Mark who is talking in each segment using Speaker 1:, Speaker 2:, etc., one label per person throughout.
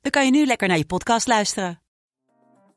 Speaker 1: dan kan je nu lekker naar je podcast luisteren.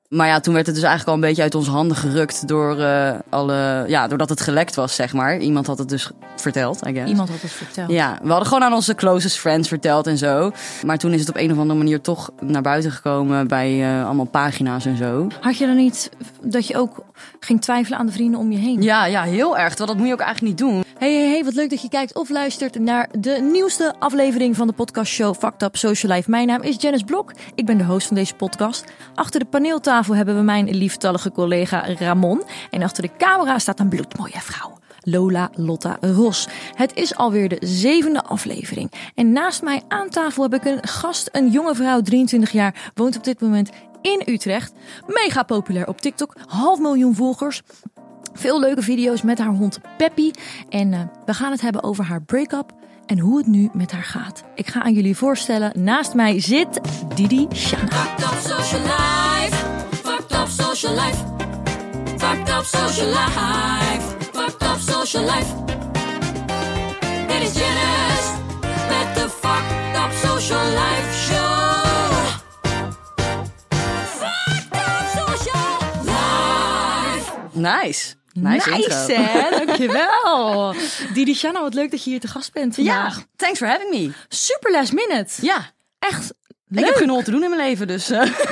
Speaker 2: Maar ja, toen werd het dus eigenlijk al een beetje uit onze handen gerukt door eh, alle, ja, doordat het gelekt was, zeg maar. Iemand had het dus verteld, I guess.
Speaker 3: Iemand had het verteld.
Speaker 2: Ja, we hadden gewoon aan onze closest friends verteld en zo. Maar toen is het op een of andere manier toch naar buiten gekomen bij eh, allemaal pagina's en zo.
Speaker 3: Had je dan niet dat je ook ging twijfelen aan de vrienden om je heen?
Speaker 2: Ja, ja, heel erg. Terwijl dat moet je ook eigenlijk niet doen.
Speaker 3: Hey, hey, hey, wat leuk dat je kijkt of luistert naar de nieuwste aflevering van de podcastshow Fucked Up Social Life. Mijn naam is Janice Blok, ik ben de host van deze podcast. Achter de paneeltafel hebben we mijn lieftallige collega Ramon. En achter de camera staat een bloedmooie vrouw. Lola Lotta Ros. Het is alweer de zevende aflevering. En naast mij aan tafel heb ik een gast, een jonge vrouw, 23 jaar, woont op dit moment in Utrecht. Mega populair op TikTok, half miljoen volgers. Veel leuke video's met haar hond Peppy. En eh, we gaan het hebben over haar break-up en hoe het nu met haar gaat. Ik ga aan jullie voorstellen, naast mij zit Didi Shanna.
Speaker 4: Fucked up social life. Fucked up social life. Fucked up social life. Fucked up social life. Dit is Janice met de Fucked up social life show. Fucked up social life.
Speaker 2: Nice. Nice, intro.
Speaker 3: hè? Dankjewel. Didi Shanna, wat leuk dat je hier te gast bent
Speaker 2: Ja,
Speaker 3: vandaag.
Speaker 2: thanks for having me.
Speaker 3: Super last minute.
Speaker 2: Ja,
Speaker 3: Echt
Speaker 2: ik heb
Speaker 3: leuk.
Speaker 2: geen hol te doen in mijn leven, dus... eh,
Speaker 3: Nee,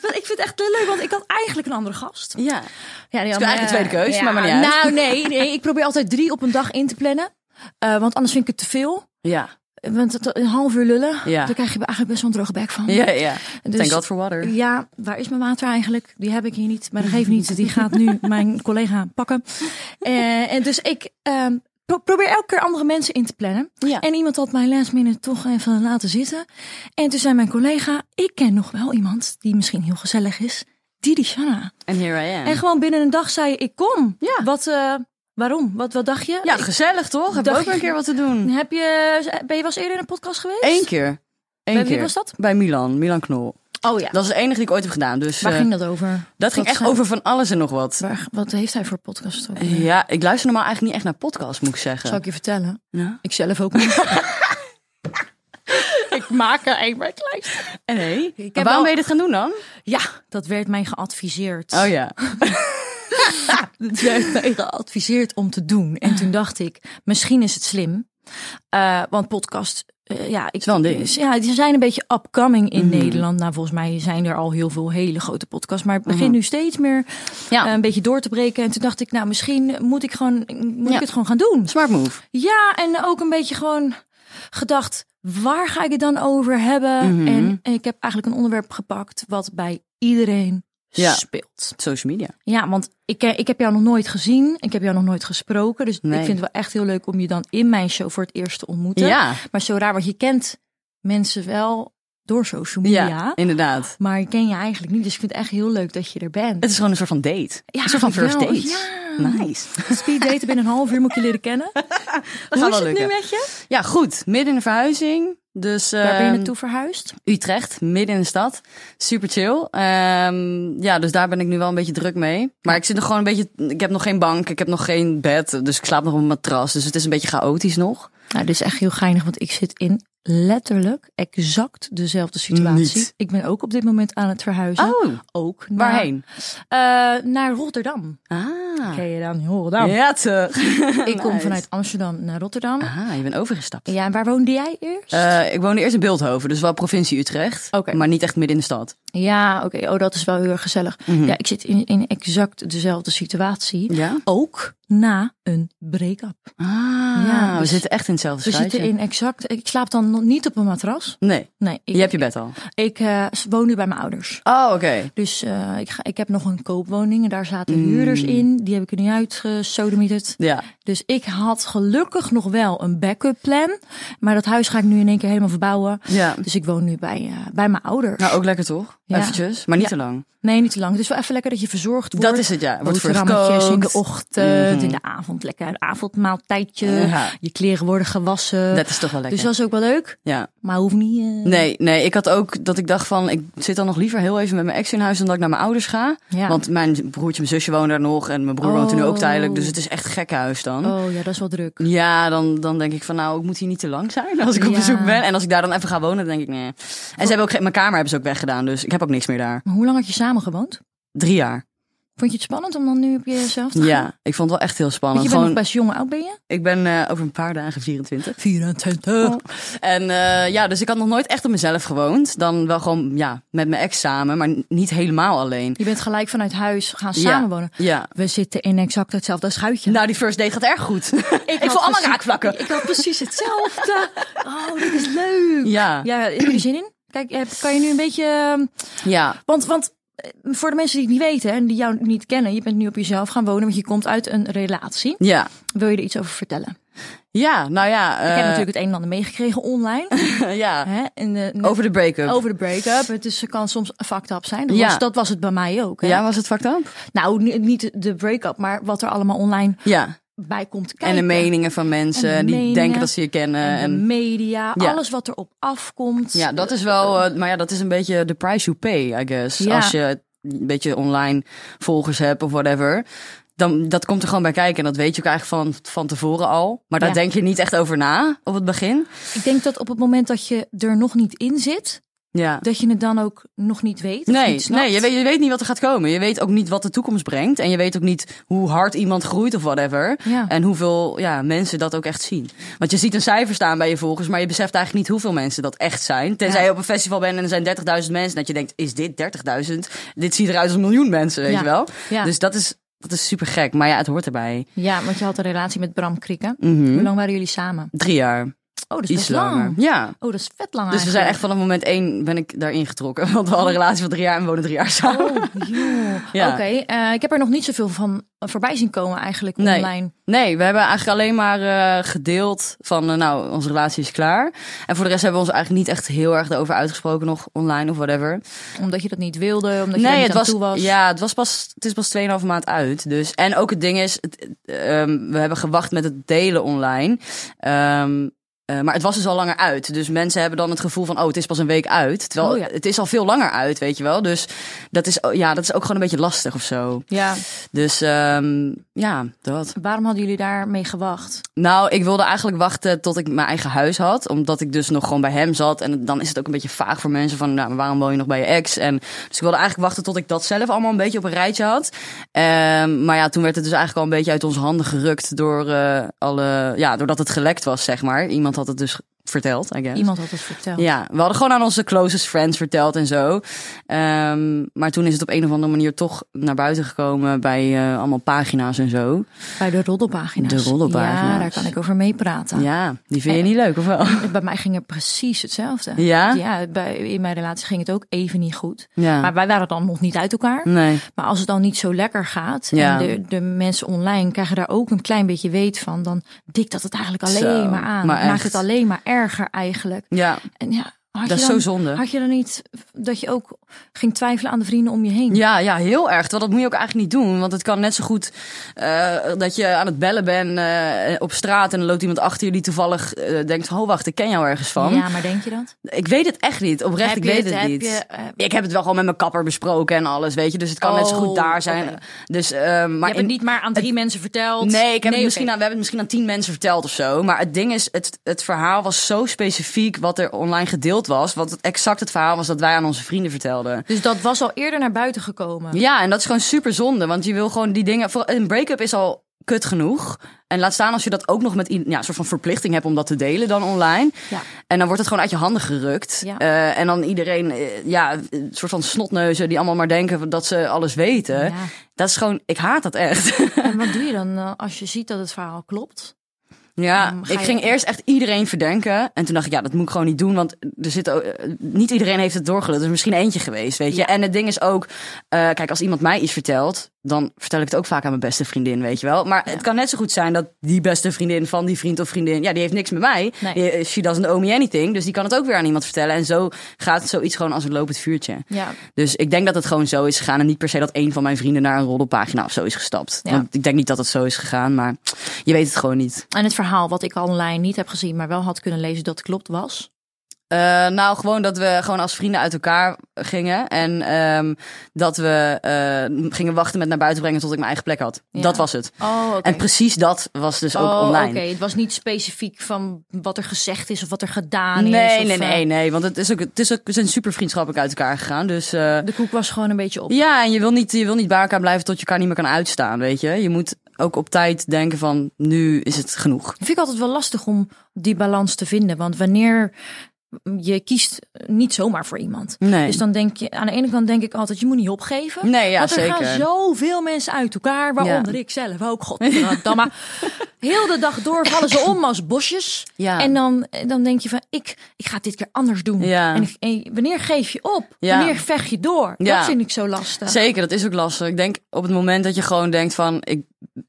Speaker 3: want ik vind het echt leuk, want ik had eigenlijk een andere gast.
Speaker 2: ja.
Speaker 3: Ja, die
Speaker 2: Het is
Speaker 3: had,
Speaker 2: eigenlijk een
Speaker 3: eh,
Speaker 2: tweede keus, maar maakt niet uit.
Speaker 3: Nou, nee, nee, ik probeer altijd drie op een dag in te plannen. Eh, want anders vind ik het te veel.
Speaker 2: Ja,
Speaker 3: Want het- een half uur lullen,
Speaker 2: Ja.
Speaker 3: daar krijg je eigenlijk best wel een droge bek van.
Speaker 2: ja, ja.
Speaker 3: Dus-
Speaker 2: Thank God for water.
Speaker 3: Ja, waar is mijn water eigenlijk? Die heb ik hier niet, maar dat geeft niet. Die gaat nu mijn collega pakken. Eh, en dus ik ehm, pro- probeer elke keer andere mensen in te plannen.
Speaker 2: Ja.
Speaker 3: En iemand had mijn last minute toch even laten zitten. En toen zei mijn collega, ik ken nog wel iemand die misschien heel gezellig is. Didi Shanna.
Speaker 2: And here I am.
Speaker 3: En gewoon binnen een dag zei ik, ik kom.
Speaker 2: Ja.
Speaker 3: Wat, eh, waarom? Wat, wat dacht je?
Speaker 2: Ja, gezellig toch? Heb je
Speaker 3: Dacht-
Speaker 2: ook weer een keer wat te doen?
Speaker 3: Heb je, ben je wel eens eerder in een podcast geweest?
Speaker 2: Eén keer. Eén
Speaker 3: Bij
Speaker 2: keer.
Speaker 3: wie was dat?
Speaker 2: Bij Milan, Milan Knol.
Speaker 3: Oh ja.
Speaker 2: Dat is de enige die ik ooit heb gedaan. Dus
Speaker 3: Waar
Speaker 2: eh,
Speaker 3: ging dat over?
Speaker 2: dat ging
Speaker 3: Wat
Speaker 2: echt
Speaker 3: zei-
Speaker 2: over Eh, van alles en nog wat.
Speaker 3: Waar- wat heeft hij voor podcast? over?
Speaker 2: Ja, ik luister normaal eigenlijk niet echt naar podcasts, moet ik zeggen.
Speaker 3: Zal ik je vertellen?
Speaker 2: Ja.
Speaker 3: Ik zelf ook niet. ik maak er een bij
Speaker 2: Eh, Nee.
Speaker 3: heb
Speaker 2: Maar waarom
Speaker 3: wel-
Speaker 2: ben je dit gaan doen dan?
Speaker 3: Ja, dat werd mij geadviseerd.
Speaker 2: Oh ja.
Speaker 3: Dat werd mij geadviseerd om te doen. En toen dacht ik, misschien is het slim. Eh, want podcast, eh, ja, ik,
Speaker 2: Is wel een ding.
Speaker 3: Ja, die zijn een beetje upcoming in Nederland. Nou, volgens mij zijn er al heel veel hele grote podcasts. Maar het begint nu steeds meer
Speaker 2: Ja.
Speaker 3: eh, een beetje door te breken. En toen dacht ik, nou, misschien moet ik, gewoon, moet
Speaker 2: Ja.
Speaker 3: ik het gewoon gaan doen.
Speaker 2: Smart move.
Speaker 3: Ja, en ook een beetje gewoon gedacht, waar ga ik het dan over hebben?
Speaker 2: Mhm.
Speaker 3: En, en ik heb eigenlijk een onderwerp gepakt wat bij iedereen
Speaker 2: Ja.
Speaker 3: speelt.
Speaker 2: Social media.
Speaker 3: Ja, want ik, eh, ik heb jou nog nooit gezien. Ik heb jou nog nooit gesproken. Dus
Speaker 2: Nee.
Speaker 3: ik vind het wel echt heel leuk om je dan in mijn show voor het eerst te ontmoeten.
Speaker 2: Ja.
Speaker 3: Maar zo raar, want je kent mensen wel door social media.
Speaker 2: Ja, inderdaad.
Speaker 3: Maar ik ken je eigenlijk niet. Dus ik vind het echt heel leuk dat je er bent.
Speaker 2: Het is gewoon een soort van date.
Speaker 3: Ja,
Speaker 2: een soort van first
Speaker 3: wel,
Speaker 2: date.
Speaker 3: ja.
Speaker 2: Nice.
Speaker 3: Speed daten binnen een half uur moet ik je leren kennen. Hoe
Speaker 2: wel
Speaker 3: is het nu
Speaker 2: lukken.
Speaker 3: met je?
Speaker 2: Ja, goed. Midden in de verhuizing. Dus,
Speaker 3: Waar ben je
Speaker 2: ehm,
Speaker 3: naartoe verhuisd?
Speaker 2: Utrecht, midden in de stad. Super chill. Ehm, ja, dus daar ben ik nu wel een beetje druk mee. Maar ik zit nog gewoon een beetje. Ik heb nog geen bank, ik heb nog geen bed. Dus ik slaap nog op een matras. Dus het is een beetje chaotisch nog.
Speaker 3: Nou, dit is echt heel geinig, want ik zit in letterlijk exact dezelfde situatie.
Speaker 2: Niet.
Speaker 3: Ik ben ook op dit moment aan het verhuizen.
Speaker 2: Oh.
Speaker 3: Ook naar,
Speaker 2: Waarheen?
Speaker 3: Eh, naar Rotterdam.
Speaker 2: Ah.
Speaker 3: Ken je dan Rotterdam?
Speaker 2: Ja, toch.
Speaker 3: Ik kom
Speaker 2: Nice.
Speaker 3: vanuit Amsterdam naar Rotterdam.
Speaker 2: Ah, Eh. je bent overgestapt.
Speaker 3: Ja, en waar woonde jij eerst?
Speaker 2: Eh, ik woonde eerst in Beeldhoven, dus wel provincie Utrecht.
Speaker 3: Oké.
Speaker 2: Maar niet echt midden in de stad.
Speaker 3: Ja, oké. Oh, dat is wel heel erg gezellig. Ja, ik zit in, in exact dezelfde situatie.
Speaker 2: Mhm. Ja?
Speaker 3: Ook na een break-up.
Speaker 2: Ah,
Speaker 3: Ja,
Speaker 2: we
Speaker 3: dus-
Speaker 2: zitten echt in hetzelfde
Speaker 3: We zitten
Speaker 2: schuitje.
Speaker 3: in exact... Ik slaap dan nog niet op een matras.
Speaker 2: Nee,
Speaker 3: Nee, ik,
Speaker 2: je hebt je bed al.
Speaker 3: ik eh, woon nu bij mijn ouders.
Speaker 2: Oh, oké.
Speaker 3: Dus eh, ik, ga, ik heb nog een koopwoning en daar zaten huurders in. Die heb ik er niet uitgesodemieterd.
Speaker 2: Mm. Ja.
Speaker 3: Dus ik had gelukkig nog wel een backup plan. Maar dat huis ga ik nu in één keer helemaal verbouwen.
Speaker 2: Ja.
Speaker 3: Dus ik woon nu bij, eh, bij mijn ouders.
Speaker 2: Nou, ook lekker toch?
Speaker 3: Ja.
Speaker 2: Eventjes, maar niet
Speaker 3: Ja.
Speaker 2: te lang.
Speaker 3: Nee, niet te lang. Het is wel even lekker dat je verzorgd wordt.
Speaker 2: Dat is het, ja. Wordt voor je
Speaker 3: Boterhammetjes in de
Speaker 2: gekookt. Mhm.
Speaker 3: ochtend, in de avond. Lekker een avondmaaltijdje.
Speaker 2: Ja.
Speaker 3: Je kleren worden gewassen.
Speaker 2: Dat is toch wel lekker.
Speaker 3: Dus dat is ook wel leuk.
Speaker 2: Ja.
Speaker 3: Maar hoeft niet... eh,
Speaker 2: Nee, nee, ik had ook dat ik dacht van, ik zit dan nog liever heel even met mijn ex in huis dan dat ik naar mijn ouders ga.
Speaker 3: Ja.
Speaker 2: Want mijn broertje en zusje wonen daar nog en mijn broer woont er nu ook
Speaker 3: Oh.
Speaker 2: tijdelijk. Dus het is echt gek huis dan.
Speaker 3: Oh ja, dat is wel druk.
Speaker 2: Ja, dan, dan denk ik van nou, ik moet hier niet te lang zijn als ik op
Speaker 3: Ja.
Speaker 2: bezoek ben. En als ik daar dan even ga wonen, dan denk ik nee. En ze hebben ook geen, mijn kamer hebben ze ook weggedaan, dus ik heb ook niks meer daar.
Speaker 3: Maar hoe lang had je samen gewoond?
Speaker 2: Drie jaar.
Speaker 3: Vond je het spannend om dan nu op jezelf te gaan?
Speaker 2: Ja, ik vond het wel echt heel
Speaker 3: Want
Speaker 2: spannend.
Speaker 3: je bent
Speaker 2: Gewoon,
Speaker 3: nog best jong. Oud ben je?
Speaker 2: Ik ben eh, over een paar dagen 24.
Speaker 3: 24.
Speaker 2: En eh, ja, dus ik had nog nooit echt op mezelf gewoond. Dan wel gewoon ja, met mijn ex samen, maar n- niet helemaal alleen.
Speaker 3: Je bent gelijk vanuit huis gaan samenwonen.
Speaker 2: Ja. ja.
Speaker 3: We zitten in exact hetzelfde schuitje.
Speaker 2: Nou, die first date gaat erg goed. ik
Speaker 3: had
Speaker 2: voel allemaal
Speaker 3: precies-
Speaker 2: raakvlakken.
Speaker 3: Ik had precies hetzelfde. Oh, dit is leuk.
Speaker 2: Ja, ja.
Speaker 3: Ja, heb je er zin in? Kijk, heb- kan je nu een beetje... ehm, Want, want eh, voor de mensen die het niet weten en die jou niet kennen... je bent nu op jezelf gaan wonen, want je komt uit een relatie.
Speaker 2: Ja,
Speaker 3: Wil je er iets over vertellen?
Speaker 2: ja, nou ja.
Speaker 3: Ik heb
Speaker 2: eh,
Speaker 3: natuurlijk het een en ander meegekregen online.
Speaker 2: ja.
Speaker 3: hè, en, eh, net
Speaker 2: Over de break-up.
Speaker 3: over de break-up. Het is, kan soms fucked up zijn. Dat,
Speaker 2: Ja.
Speaker 3: was, dat was het bij mij ook. Hè?
Speaker 2: Ja, was het fucked up?
Speaker 3: Nou, ni- niet de break-up, maar wat er allemaal online
Speaker 2: Ja.
Speaker 3: bij komt kijken.
Speaker 2: En de meningen van mensen
Speaker 3: En de
Speaker 2: die
Speaker 3: meningen.
Speaker 2: denken dat ze je kennen.
Speaker 3: En
Speaker 2: En
Speaker 3: de media,
Speaker 2: Ja.
Speaker 3: alles wat erop afkomt.
Speaker 2: Ja, dat is wel. eh, maar ja, dat is een beetje de price you pay, I guess.
Speaker 3: Ja.
Speaker 2: Als je een beetje online volgers hebt of whatever. Dan, dat komt er gewoon bij kijken. En dat weet je ook eigenlijk van, van tevoren al. Maar daar
Speaker 3: Ja.
Speaker 2: denk je niet echt over na op het begin.
Speaker 3: Ik denk dat op het moment dat je er nog niet in zit,
Speaker 2: Ja.
Speaker 3: dat je het dan ook nog niet weet. of
Speaker 2: Nee,
Speaker 3: niet snapt.
Speaker 2: nee je, weet, je weet niet wat er gaat komen. Je weet ook niet wat de toekomst brengt. En je weet ook niet hoe hard iemand groeit of whatever.
Speaker 3: Ja.
Speaker 2: En hoeveel ja, mensen dat ook echt zien. Want je ziet een cijfer staan bij je volgers, maar je beseft eigenlijk niet hoeveel mensen dat echt zijn. Tenzij
Speaker 3: Ja.
Speaker 2: je op een festival bent en er zijn 30.000 mensen. Dat je denkt, is dit 30.000? Dit ziet eruit als een miljoen mensen, weet
Speaker 3: Ja.
Speaker 2: je wel?
Speaker 3: Ja.
Speaker 2: Dus dat is, dat is super gek. Maar ja, het hoort erbij.
Speaker 3: Ja, want je had een relatie met Bram Krieken.
Speaker 2: Mhm.
Speaker 3: Hoe lang waren jullie samen?
Speaker 2: Drie jaar.
Speaker 3: Oh, dat is
Speaker 2: Iets
Speaker 3: best lang.
Speaker 2: langer. Ja.
Speaker 3: Oh, dat is vet lang
Speaker 2: Dus we zijn echt vanaf moment één ben ik daarin getrokken. Want we hadden een relatie van drie jaar en we wonen drie jaar samen.
Speaker 3: Oh, joh.
Speaker 2: Ja.
Speaker 3: Oké, eh, ik heb er nog niet zoveel van voorbij zien komen eigenlijk
Speaker 2: Nee.
Speaker 3: online.
Speaker 2: Nee, we hebben eigenlijk alleen maar eh, gedeeld van, eh, nou, onze relatie is klaar. En voor de rest hebben we ons eigenlijk niet echt heel erg erover uitgesproken, nog online of whatever.
Speaker 3: Omdat je dat niet wilde, omdat je
Speaker 2: nee,
Speaker 3: er niet
Speaker 2: het
Speaker 3: aan
Speaker 2: was,
Speaker 3: toe was.
Speaker 2: Ja, het, was pas, het is pas 2,5 maand uit. Dus. En ook het ding is, het, eh, ehm, we hebben gewacht met het delen online. Ehm, eh, maar het was dus al langer uit. Dus mensen hebben dan het gevoel van, oh, het is pas een week uit. Terwijl
Speaker 3: Oh, ja.
Speaker 2: het is al veel langer uit, weet je wel. Dus dat is, ja, dat is ook gewoon een beetje lastig of zo.
Speaker 3: ja.
Speaker 2: Dus ehm, ja, dat.
Speaker 3: Waarom hadden jullie daarmee gewacht?
Speaker 2: Nou, ik wilde eigenlijk wachten tot ik mijn eigen huis had. Omdat ik dus nog gewoon bij hem zat. En dan is het ook een beetje vaag voor mensen van... Nou, waarom woon je nog bij je ex? En, dus ik wilde eigenlijk wachten tot ik dat zelf allemaal een beetje op een rijtje had. Ehm, maar ja, toen werd het dus eigenlijk al een beetje uit onze handen gerukt... Door, eh, alle, ja, doordat het gelekt was, zeg maar. Iemand had het dus verteld, I guess.
Speaker 3: Iemand had het verteld.
Speaker 2: Ja, we hadden gewoon aan onze closest friends verteld en zo. Ehm, maar toen is het op een of andere manier toch naar buiten gekomen... bij eh, allemaal pagina's en zo.
Speaker 3: Bij de roddelpagina's.
Speaker 2: De roddelpagina's.
Speaker 3: Ja, daar kan ik over meepraten.
Speaker 2: Ja, die vind je niet leuk, of wel?
Speaker 3: Bij mij ging het precies hetzelfde.
Speaker 2: Ja?
Speaker 3: Ja, bij, in mijn relatie ging het ook even niet goed.
Speaker 2: Ja.
Speaker 3: Maar wij waren dan nog niet uit elkaar.
Speaker 2: Nee.
Speaker 3: Maar als het dan niet zo lekker gaat
Speaker 2: Ja.
Speaker 3: en de, de mensen online krijgen daar ook een klein beetje weet van, dan dikt dat het eigenlijk alleen
Speaker 2: Zo,
Speaker 3: maar aan.
Speaker 2: maar
Speaker 3: Maakt
Speaker 2: echt.
Speaker 3: het alleen maar erger eigenlijk.
Speaker 2: Ja,
Speaker 3: En ja, had
Speaker 2: dat
Speaker 3: je
Speaker 2: is
Speaker 3: dan,
Speaker 2: zo zonde.
Speaker 3: Had je dan niet dat je ook ging twijfelen aan de vrienden om je heen?
Speaker 2: Ja, ja, heel erg. Terwijl dat moet je ook eigenlijk niet doen. Want het kan net zo goed eh, dat je aan het bellen bent eh, op straat... en dan loopt iemand achter je die toevallig eh, denkt... van, oh, wacht, ik ken jou ergens van.
Speaker 3: Ja, maar denk je dat?
Speaker 2: Ik weet het echt niet. Oprecht,
Speaker 3: Heb
Speaker 2: ik
Speaker 3: je
Speaker 2: weet
Speaker 3: het-
Speaker 2: het,
Speaker 3: heb
Speaker 2: niet.
Speaker 3: je, eh,
Speaker 2: ik heb het wel gewoon met mijn kapper besproken en alles, weet je. Dus het kan net zo goed
Speaker 3: Oh,
Speaker 2: daar zijn.
Speaker 3: oké.
Speaker 2: Dus, eh, maar
Speaker 3: je hebt
Speaker 2: in-
Speaker 3: het niet maar aan drie mensen verteld.
Speaker 2: Nee, ik heb het
Speaker 3: oké.
Speaker 2: misschien aan, we hebben het misschien aan tien mensen verteld of zo. Maar het ding is, het, het verhaal was zo specifiek wat er online gedeeld was. Wat het exact het verhaal was dat wij aan onze vrienden vertelden.
Speaker 3: Dus dat was al eerder naar buiten gekomen.
Speaker 2: Ja, en dat is gewoon super zonde. Want je wil gewoon die dingen. voor- Een break-up is al kut genoeg. En laat staan als je dat ook nog met i- ja, een soort van verplichting hebt om dat te delen dan online.
Speaker 3: Ja.
Speaker 2: En dan wordt het gewoon uit je handen gerukt.
Speaker 3: Ja.
Speaker 2: Eh, en dan iedereen, eh, ja, een soort van snotneuzen die allemaal maar denken dat ze alles weten.
Speaker 3: Ja.
Speaker 2: Dat is gewoon, ik haat dat echt.
Speaker 3: En wat doe je dan eh, als je ziet dat het verhaal klopt?
Speaker 2: Ja,
Speaker 3: Ehm, ga
Speaker 2: ik
Speaker 3: je-
Speaker 2: ging eerst echt iedereen verdenken. En toen dacht ik, ja, dat moet ik gewoon niet doen. Want er zit, ook- eh, niet iedereen heeft het doorgeluld. Er is misschien eentje geweest, weet je.
Speaker 3: Ja.
Speaker 2: En het ding is ook, eh, kijk, als iemand mij iets vertelt... dan vertel ik het ook vaak aan mijn beste vriendin, weet je wel. Maar het kan net zo goed zijn dat die beste vriendin van die vriend of vriendin... ja, die heeft niks met mij.
Speaker 3: Nee.
Speaker 2: Die- eh, she doesn't owe me anything. Dus die kan het ook weer aan iemand vertellen. En zo gaat zoiets gewoon als een lopend vuurtje.
Speaker 3: Ja,
Speaker 2: Dus ik denk dat het gewoon zo is gegaan. En niet per se dat een van mijn vrienden naar een roddelpagina of zo is gestapt.
Speaker 3: Ja.
Speaker 2: Want ik denk niet dat het zo is gegaan, maar je weet het gewoon niet.
Speaker 3: en het verhaal wat ik online niet heb gezien, maar wel had kunnen lezen dat klopt was.
Speaker 2: Eh, nou, gewoon dat we gewoon als vrienden uit elkaar gingen. En ehm, dat we eh, gingen wachten met naar buiten brengen tot ik mijn eigen plek had.
Speaker 3: Ja.
Speaker 2: Dat was het.
Speaker 3: Oh, oké.
Speaker 2: En precies dat was dus ook
Speaker 3: oh,
Speaker 2: online.
Speaker 3: Oké, het was niet specifiek van wat er gezegd is of wat er gedaan is.
Speaker 2: Nee,
Speaker 3: of,
Speaker 2: nee,
Speaker 3: eh,
Speaker 2: nee, nee. Want het is ook, het is ook, we zijn super vriendschappelijk uit elkaar gegaan. Dus eh,
Speaker 3: De koek was gewoon een beetje op.
Speaker 2: ja, en je wil, niet, je wil niet bij elkaar blijven tot je elkaar niet meer kan uitstaan, weet je. Je moet ook op tijd denken van, nu is het genoeg.
Speaker 3: Vind ik altijd wel lastig om die balans te vinden. Want wanneer je kiest niet zomaar voor iemand.
Speaker 2: Nee.
Speaker 3: Dus dan denk je, aan de ene kant denk ik altijd, je moet niet opgeven.
Speaker 2: Nee, ja,
Speaker 3: want er gaan
Speaker 2: zeker.
Speaker 3: zoveel mensen uit elkaar, waaronder ik zelf ook. Godverdamme. Heel de dag door vallen ze om als bosjes.
Speaker 2: Ja.
Speaker 3: En dan, dan denk je van, ik, ik ga het dit keer anders doen.
Speaker 2: Ja.
Speaker 3: En, ik- en wanneer geef je op?
Speaker 2: Ja.
Speaker 3: Wanneer vecht je door? Dat
Speaker 2: Ja.
Speaker 3: vind ik zo lastig.
Speaker 2: Zeker, dat is ook lastig. Ik denk op het moment dat je gewoon denkt van... Ik,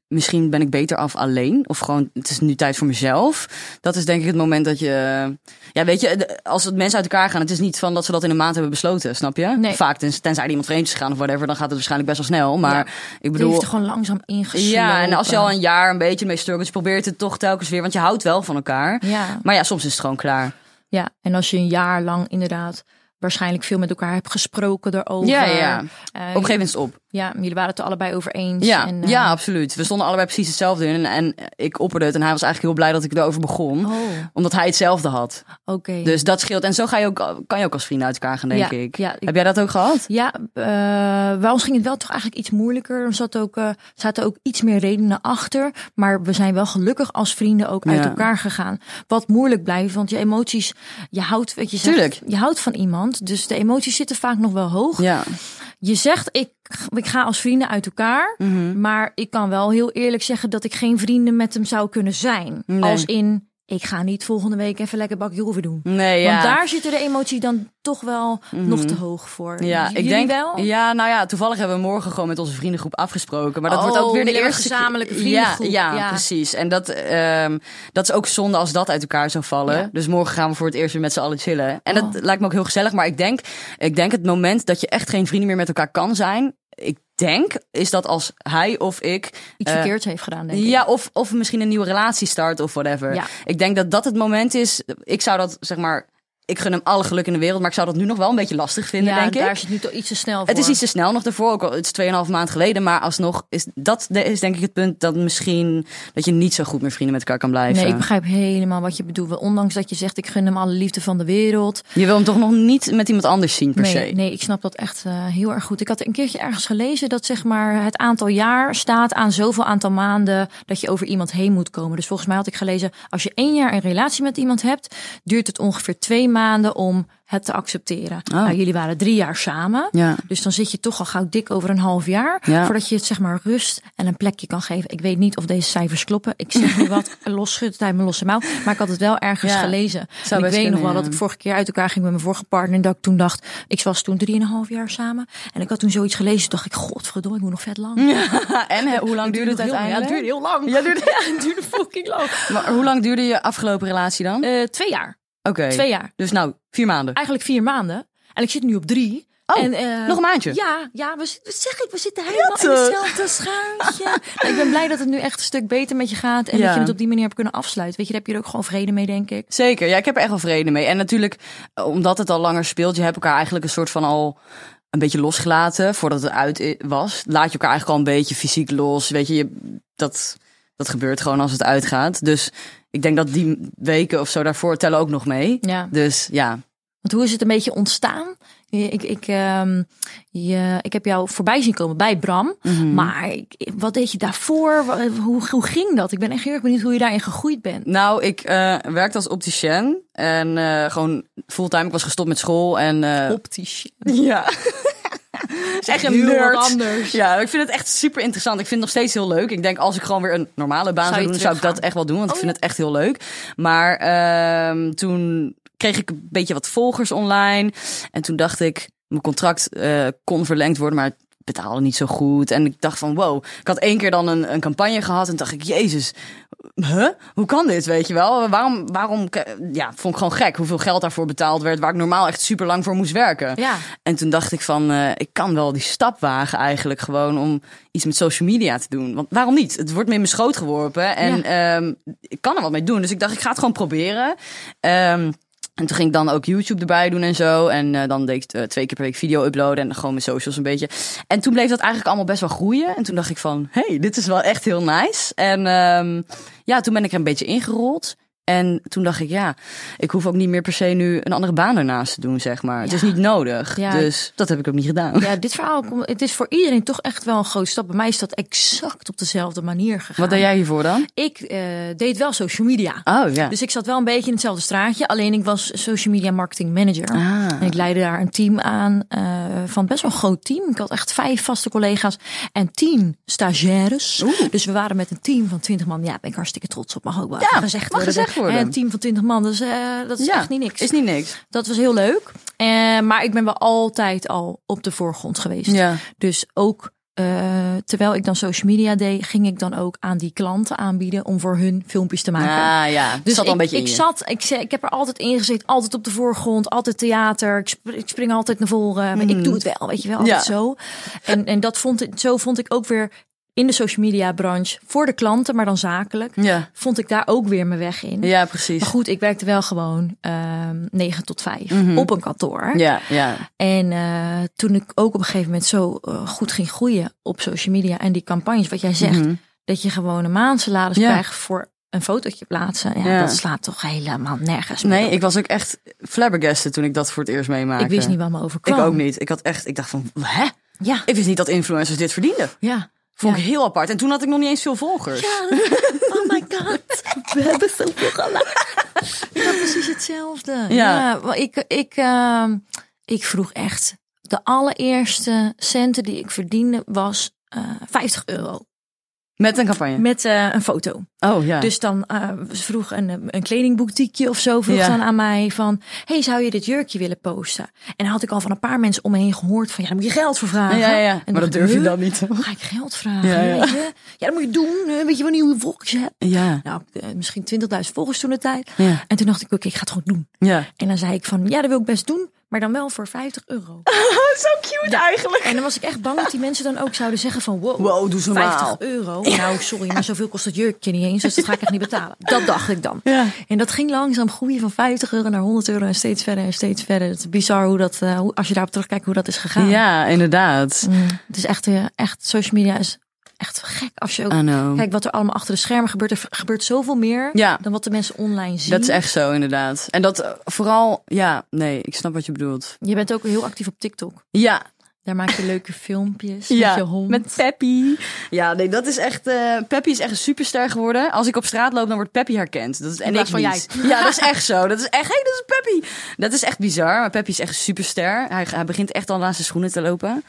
Speaker 2: misschien ben ik beter af alleen. Of gewoon, het is nu tijd voor mezelf. Dat is denk ik het moment dat je... eh, Ja, weet je, de- als het mensen uit elkaar gaan... Het is niet van dat ze dat in een maand hebben besloten, snap je?
Speaker 3: Nee.
Speaker 2: Vaak, tens- tenzij er iemand vreemd is gegaan of whatever... dan gaat het waarschijnlijk best wel snel. Maar
Speaker 3: Ja.
Speaker 2: ik
Speaker 3: Je
Speaker 2: bedoel...
Speaker 3: heeft er gewoon langzaam ingeslopen.
Speaker 2: Ja, en als je al een jaar een beetje mee struggelt... je probeert het toch telkens weer, want je houdt wel van elkaar.
Speaker 3: Ja.
Speaker 2: Maar ja, soms is het gewoon klaar.
Speaker 3: Ja, en als je een jaar lang inderdaad waarschijnlijk veel met elkaar hebt gesproken erover.
Speaker 2: Ja, ja.
Speaker 3: Eh,
Speaker 2: Op een gegeven moment is het op.
Speaker 3: ja, jullie waren het er allebei over eens.
Speaker 2: Ja,
Speaker 3: en, eh,
Speaker 2: ja, absoluut. We stonden allebei precies hetzelfde in. En, en ik opperde het. En hij was eigenlijk heel blij dat ik erover begon.
Speaker 3: Oh.
Speaker 2: Omdat hij hetzelfde had.
Speaker 3: eh, Oké.
Speaker 2: Dus dat scheelt. En zo ga je ook, kan je ook als vrienden uit elkaar gaan, denk
Speaker 3: Ja,
Speaker 2: ik.
Speaker 3: ja, ik-
Speaker 2: Heb jij dat ook gehad?
Speaker 3: Ja, eh bij ons ging het wel toch eigenlijk iets moeilijker. Er zat ook, eh, zaten ook iets meer redenen achter. Maar we zijn wel gelukkig als vrienden ook uit
Speaker 2: Ja.
Speaker 3: elkaar gegaan. Wat moeilijk blijft, want je emoties... Je houdt, weet je, zegt,
Speaker 2: Tuurlijk.
Speaker 3: je houdt van iemand, dus de emoties zitten vaak nog wel hoog.
Speaker 2: Ja,
Speaker 3: Je zegt, ik, ik ga als vrienden uit elkaar.
Speaker 2: Mhm.
Speaker 3: Maar ik kan wel heel eerlijk zeggen dat ik geen vrienden met hem zou kunnen zijn.
Speaker 2: Nee.
Speaker 3: Als in, ik ga niet volgende week even lekker bakje hoeven doen.
Speaker 2: nee, ja. Mhm.
Speaker 3: Want daar zitten de emotie dan toch wel nog te hoog voor.
Speaker 2: ja,
Speaker 3: Jullie
Speaker 2: ik denk
Speaker 3: wel?
Speaker 2: Ja, nou ja, toevallig hebben we morgen gewoon met onze vriendengroep afgesproken. Maar dat wordt
Speaker 3: Oh,
Speaker 2: ook weer de
Speaker 3: jullie hebben
Speaker 2: eerste
Speaker 3: gezamenlijke
Speaker 2: keer-
Speaker 3: vriendengroep.
Speaker 2: Ja, ja,
Speaker 3: Ja.
Speaker 2: precies. En dat, ehm, dat is ook zonde als dat uit elkaar zou vallen.
Speaker 3: Ja. Oh.
Speaker 2: Dus morgen gaan we voor het eerst weer met z'n allen chillen. En dat lijkt me ook heel gezellig. Maar ik denk, ik denk het moment dat je echt geen vrienden meer met elkaar kan zijn. Ik denk, is dat als hij of ik
Speaker 3: Iets
Speaker 2: eh,
Speaker 3: verkeerds heeft gedaan, denk ik.
Speaker 2: Ja, of, of misschien een nieuwe relatie start of whatever.
Speaker 3: Ja.
Speaker 2: Ik denk dat dat het moment is. Ik zou dat, zeg maar, ik gun hem alle geluk in de wereld, maar ik zou dat nu nog wel een beetje lastig vinden,
Speaker 3: ja,
Speaker 2: denk ik.
Speaker 3: daar is het nu toch iets te snel voor.
Speaker 2: Het is iets te snel nog daarvoor, ook al het is 2,5 maand geleden, maar alsnog is dat de- is denk ik het punt dat misschien dat je niet zo goed meer vrienden met elkaar kan blijven.
Speaker 3: Nee, ik begrijp helemaal wat je bedoelt. Want Ondanks dat je zegt, ik gun hem alle liefde van de wereld.
Speaker 2: Je wil hem toch nog niet met iemand anders zien per se.
Speaker 3: Nee, nee, ik snap dat echt eh, heel erg goed. Ik had een keertje ergens gelezen dat zeg maar, het aantal jaar staat aan zoveel aantal maanden dat je over iemand heen moet komen. Dus volgens mij had ik gelezen, als je één jaar een relatie met iemand hebt, duurt het ongeveer twee maanden om het te accepteren. Nou, jullie waren drie jaar samen.
Speaker 2: Oh. Ja.
Speaker 3: Dus dan zit je toch al gauw dik over een half jaar.
Speaker 2: Ja.
Speaker 3: Voordat je het zeg maar rust en een plekje kan geven. Ik weet niet of deze cijfers kloppen. Ik zeg nu wat losschut uit mijn losse mouw. Maar ik had het wel ergens
Speaker 2: Ja.
Speaker 3: gelezen.
Speaker 2: Zou
Speaker 3: En
Speaker 2: best
Speaker 3: ik weet nog
Speaker 2: kunnen,
Speaker 3: wel
Speaker 2: ja.
Speaker 3: dat ik vorige keer uit elkaar ging met mijn vorige partner. En dat ik toen dacht, ik was toen 3,5 jaar samen. En ik had toen zoiets gelezen. Toen dacht ik, godverdomme, ik moet nog vet lang.
Speaker 2: Mm. En hè, hoe lang duurde het
Speaker 3: Nog heel-
Speaker 2: uiteindelijk?
Speaker 3: Ja, het duurde heel lang.
Speaker 2: Ja, het duurde-
Speaker 3: Ja, het duurde fucking lang.
Speaker 2: Maar hoe lang duurde je afgelopen relatie dan?
Speaker 3: Eh, twee jaar.
Speaker 2: Oké.
Speaker 3: Twee jaar.
Speaker 2: Dus nou, vier maanden.
Speaker 3: Eigenlijk vier maanden. En ik zit nu op drie.
Speaker 2: Oh,
Speaker 3: en, eh,
Speaker 2: nog een maandje?
Speaker 3: Ja, ja we, zi- wat zeg ik, we zitten helemaal
Speaker 2: Ja,
Speaker 3: in
Speaker 2: toch?
Speaker 3: hetzelfde schuitje. Nou, ik ben blij dat het nu echt een stuk beter met je gaat. En
Speaker 2: Ja.
Speaker 3: dat je het op die manier hebt kunnen afsluiten. Weet je, daar heb je er ook gewoon vrede mee, denk ik.
Speaker 2: Zeker, ja, ik heb er echt wel vrede mee. En natuurlijk, eh, omdat het al langer speelt, je hebt elkaar eigenlijk een soort van al een beetje losgelaten voordat het uit i- was. Laat je elkaar eigenlijk al een beetje fysiek los. Weet je, je dat, dat gebeurt gewoon als het uitgaat. Dus ik denk dat die weken of zo daarvoor tellen ook nog mee.
Speaker 3: Ja.
Speaker 2: Dus ja,
Speaker 3: Want hoe is het een beetje ontstaan? Je- Ik, ik, ehm, je, ik heb jou voorbij zien komen bij Bram. Maar ik- wat deed je daarvoor? Wa- Hoe, hoe ging dat? Ik ben echt heel erg benieuwd hoe je daarin gegroeid bent.
Speaker 2: Nou, ik eh, werkte als opticien en eh, gewoon fulltime. Ik was gestopt met school en... eh,
Speaker 3: Optisch.
Speaker 2: Ja. is echt een
Speaker 3: Heel wat
Speaker 2: nerd.
Speaker 3: anders.
Speaker 2: Ja, ik vind het echt super interessant. Ik vind het nog steeds heel leuk. Ik denk als ik gewoon weer een normale baan
Speaker 3: Zou
Speaker 2: zou,
Speaker 3: je
Speaker 2: doen, zou ik dat
Speaker 3: teruggaan?
Speaker 2: echt wel doen. Want
Speaker 3: Oh,
Speaker 2: ik vind het echt heel leuk. Maar ehm, toen kreeg ik een beetje wat volgers online. En toen dacht ik, mijn contract eh, kon verlengd worden, maar het betaalde niet zo goed. En ik dacht van, wow. Ik had één keer dan een, een campagne gehad en dacht ik, jezus, huh? Hoe kan dit, weet je wel? Waarom, waarom, ja, vond ik gewoon gek hoeveel geld daarvoor betaald werd, waar ik normaal echt super lang voor moest werken.
Speaker 3: Ja.
Speaker 2: En toen dacht ik van, eh, ik kan wel die stap wagen eigenlijk gewoon om iets met social media te doen. Want waarom niet? Het wordt me in mijn schoot geworpen en
Speaker 3: Ja.
Speaker 2: ehm, ik kan er wat mee doen. Dus ik dacht, ik ga het gewoon proberen. Ehm, en toen ging ik dan ook YouTube erbij doen en zo. En eh, dan deed ik eh, twee keer per week video uploaden en gewoon mijn socials een beetje. En toen bleef dat eigenlijk allemaal best wel groeien. En toen dacht ik van, hey, dit is wel echt heel nice. En ehm, ja, toen ben ik er een beetje ingerold. En toen dacht ik, ja, ik hoef ook niet meer per se nu een andere baan ernaast te doen, zeg maar. Het is niet nodig.
Speaker 3: Ja.
Speaker 2: Dus dat heb ik ook niet gedaan.
Speaker 3: Ja, dit verhaal kom- het is voor iedereen toch echt wel een grote stap. Bij mij is dat exact op dezelfde manier gegaan.
Speaker 2: Wat deed jij hiervoor dan?
Speaker 3: Ik eh, deed wel social media.
Speaker 2: Oh ja.
Speaker 3: Dus ik zat wel een beetje in hetzelfde straatje. Alleen ik was social media marketing manager.
Speaker 2: Ah.
Speaker 3: En ik leidde daar een team aan eh, van best wel een groot team. Ik had echt vijf vaste collega's en tien stagiaires. Dus we waren met een team van twintig man. Ja, daar ben ik hartstikke trots op. Mag ook wel
Speaker 2: Ja,
Speaker 3: gezegd
Speaker 2: mag
Speaker 3: worden.
Speaker 2: gezegd worden.
Speaker 3: En een team van twintig man, dus, eh, dat is
Speaker 2: ja.
Speaker 3: echt niet niks.
Speaker 2: Is niet niks.
Speaker 3: Dat was heel leuk. Eh, maar ik ben wel altijd al op de voorgrond geweest.
Speaker 2: Ja.
Speaker 3: Dus ook eh, terwijl ik dan social media deed, ging ik dan ook aan die klanten aanbieden om voor hun filmpjes te maken.
Speaker 2: Ah ja. Dus
Speaker 3: Dus
Speaker 2: zat al een
Speaker 3: ik,
Speaker 2: beetje in
Speaker 3: ik
Speaker 2: je.
Speaker 3: zat, ik, ze- ik heb er altijd in gezeten, altijd op de voorgrond, altijd theater. Ik, sp- ik spring altijd naar voren. maar Ik doe het wel, weet je wel, altijd
Speaker 2: Hmm. Ja.
Speaker 3: zo. En, en dat vond ik, zo vond ik ook weer in de social media branche voor de klanten, maar dan zakelijk,
Speaker 2: Ja.
Speaker 3: vond ik daar ook weer mijn weg in.
Speaker 2: Ja, precies.
Speaker 3: Maar goed, ik werkte wel gewoon ehm 9 tot 5 op een kantoor.
Speaker 2: Mhm. Ja, ja.
Speaker 3: En eh, toen ik ook op een gegeven moment zo eh, goed ging groeien op social media en die campagnes, wat jij zegt, dat je gewoon een maandsalaris
Speaker 2: Mhm. Ja.
Speaker 3: krijgt voor een fotootje plaatsen. Ja,
Speaker 2: Ja.
Speaker 3: dat slaat toch helemaal nergens meer
Speaker 2: Nee,
Speaker 3: op.
Speaker 2: ik was ook echt flabbergasted toen ik dat voor het eerst meemaakte.
Speaker 3: ik wist niet wat me overkwam.
Speaker 2: eh, Ik ook niet. Ik had echt, ik dacht van, hè?
Speaker 3: Ja,
Speaker 2: Ik wist niet dat influencers dit verdienden.
Speaker 3: ja.
Speaker 2: Vond
Speaker 3: Ja.
Speaker 2: ik heel apart. En toen had ik nog niet eens veel volgers.
Speaker 3: Oh my god, we hebben zoveel gelijk. Ik had precies hetzelfde. Ja, maar ik, ik, ehm, ik vroeg echt. De allereerste centen die ik verdiende was eh 50 euro.
Speaker 2: Met een campagne.
Speaker 3: Met eh, een foto.
Speaker 2: Oh ja.
Speaker 3: Dus dan eh, ze vroeg een, een kledingboutiekje of zo vroeg
Speaker 2: Ja.
Speaker 3: dan aan mij van... hey, zou je dit jurkje willen posten? En dan had ik al van een paar mensen om me heen gehoord van... ja, daar moet je geld voor vragen.
Speaker 2: ja, ja, ja.
Speaker 3: En
Speaker 2: Maar dat
Speaker 3: dacht ik,
Speaker 2: durf je
Speaker 3: huh?
Speaker 2: dan niet.
Speaker 3: Ga ik geld vragen?
Speaker 2: Ja,
Speaker 3: Ja,
Speaker 2: ja.
Speaker 3: Weet je? ja dat moet je doen. hè. Weet je wel niet hoeveel volgers je hebt?
Speaker 2: Ja.
Speaker 3: Nou, eh, misschien 20.000 volgers toen de tijd.
Speaker 2: Ja.
Speaker 3: En toen dacht ik, oké, ik ga het gewoon doen.
Speaker 2: Ja.
Speaker 3: En dan zei ik van, ja, dat wil ik best doen, maar dan wel voor 50 euro.
Speaker 2: Oh, Zo cute eigenlijk.
Speaker 3: En dan was ik echt bang dat die mensen dan ook zouden zeggen van, wow,
Speaker 2: Wow, doe ze normaal.
Speaker 3: 50 euro. Nou, sorry, maar zoveel kost dat jurkje niet eens, dus dat ga ik echt niet betalen. Dat dacht ik dan.
Speaker 2: Ja.
Speaker 3: En dat ging langzaam groeien van 50 euro naar 100 euro en steeds verder en steeds verder. Het is bizar hoe dat, eh, hoe, als je daarop terugkijkt, hoe dat is gegaan.
Speaker 2: Ja, inderdaad.
Speaker 3: Mm, het is echt, eh, echt, social media is echt gek als je ook...
Speaker 2: I know.
Speaker 3: Kijk, wat er allemaal achter de schermen gebeurt, er gebeurt zoveel meer
Speaker 2: Ja.
Speaker 3: dan wat de mensen online zien.
Speaker 2: Dat is echt zo, inderdaad. En dat eh, vooral, ja, nee, ik snap wat je bedoelt.
Speaker 3: Je bent ook heel actief op TikTok.
Speaker 2: Ja,
Speaker 3: Daar maak je leuke filmpjes
Speaker 2: ja.
Speaker 3: met je hond.
Speaker 2: Met Peppy. Ja, nee, dat is echt. eh Peppy is echt een superster geworden. Als ik op straat loop, dan wordt Peppy herkend. Dat is, en
Speaker 3: plaats
Speaker 2: ik
Speaker 3: van
Speaker 2: niet. Ja, dat is echt zo. Dat is echt. Hé, hey, dat is Peppy. Dat is echt bizar. Maar Peppy is echt een superster. Hij, hij begint echt al naast zijn schoenen te lopen.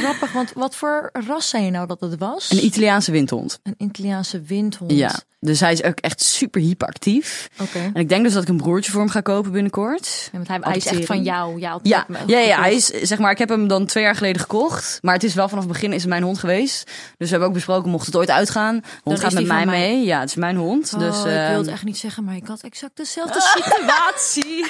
Speaker 3: Grappig, want wat voor ras zei je nou dat het was?
Speaker 2: Een Italiaanse windhond.
Speaker 3: Een Italiaanse windhond.
Speaker 2: Ja. Dus hij is ook echt super hyperactief.
Speaker 3: Oké.
Speaker 2: En ik denk dus dat ik een broertje voor hem ga kopen binnenkort.
Speaker 3: Ja, want hij, hij is echt
Speaker 2: Adopteren.
Speaker 3: van jou. jou
Speaker 2: Ja, ja, ja, hij is, zeg maar, ik heb hem dan twee jaar geleden gekocht. Maar het is wel vanaf het begin is het mijn hond geweest. Dus we hebben ook besproken, mocht het ooit uitgaan. Hond
Speaker 3: Dan
Speaker 2: gaat
Speaker 3: is
Speaker 2: met
Speaker 3: die
Speaker 2: mij
Speaker 3: van mij.
Speaker 2: mee. Ja, het is mijn hond.
Speaker 3: Oh,
Speaker 2: dus,
Speaker 3: ik wil
Speaker 2: ehm, Ah.
Speaker 3: het echt niet zeggen, maar ik had exact dezelfde situatie.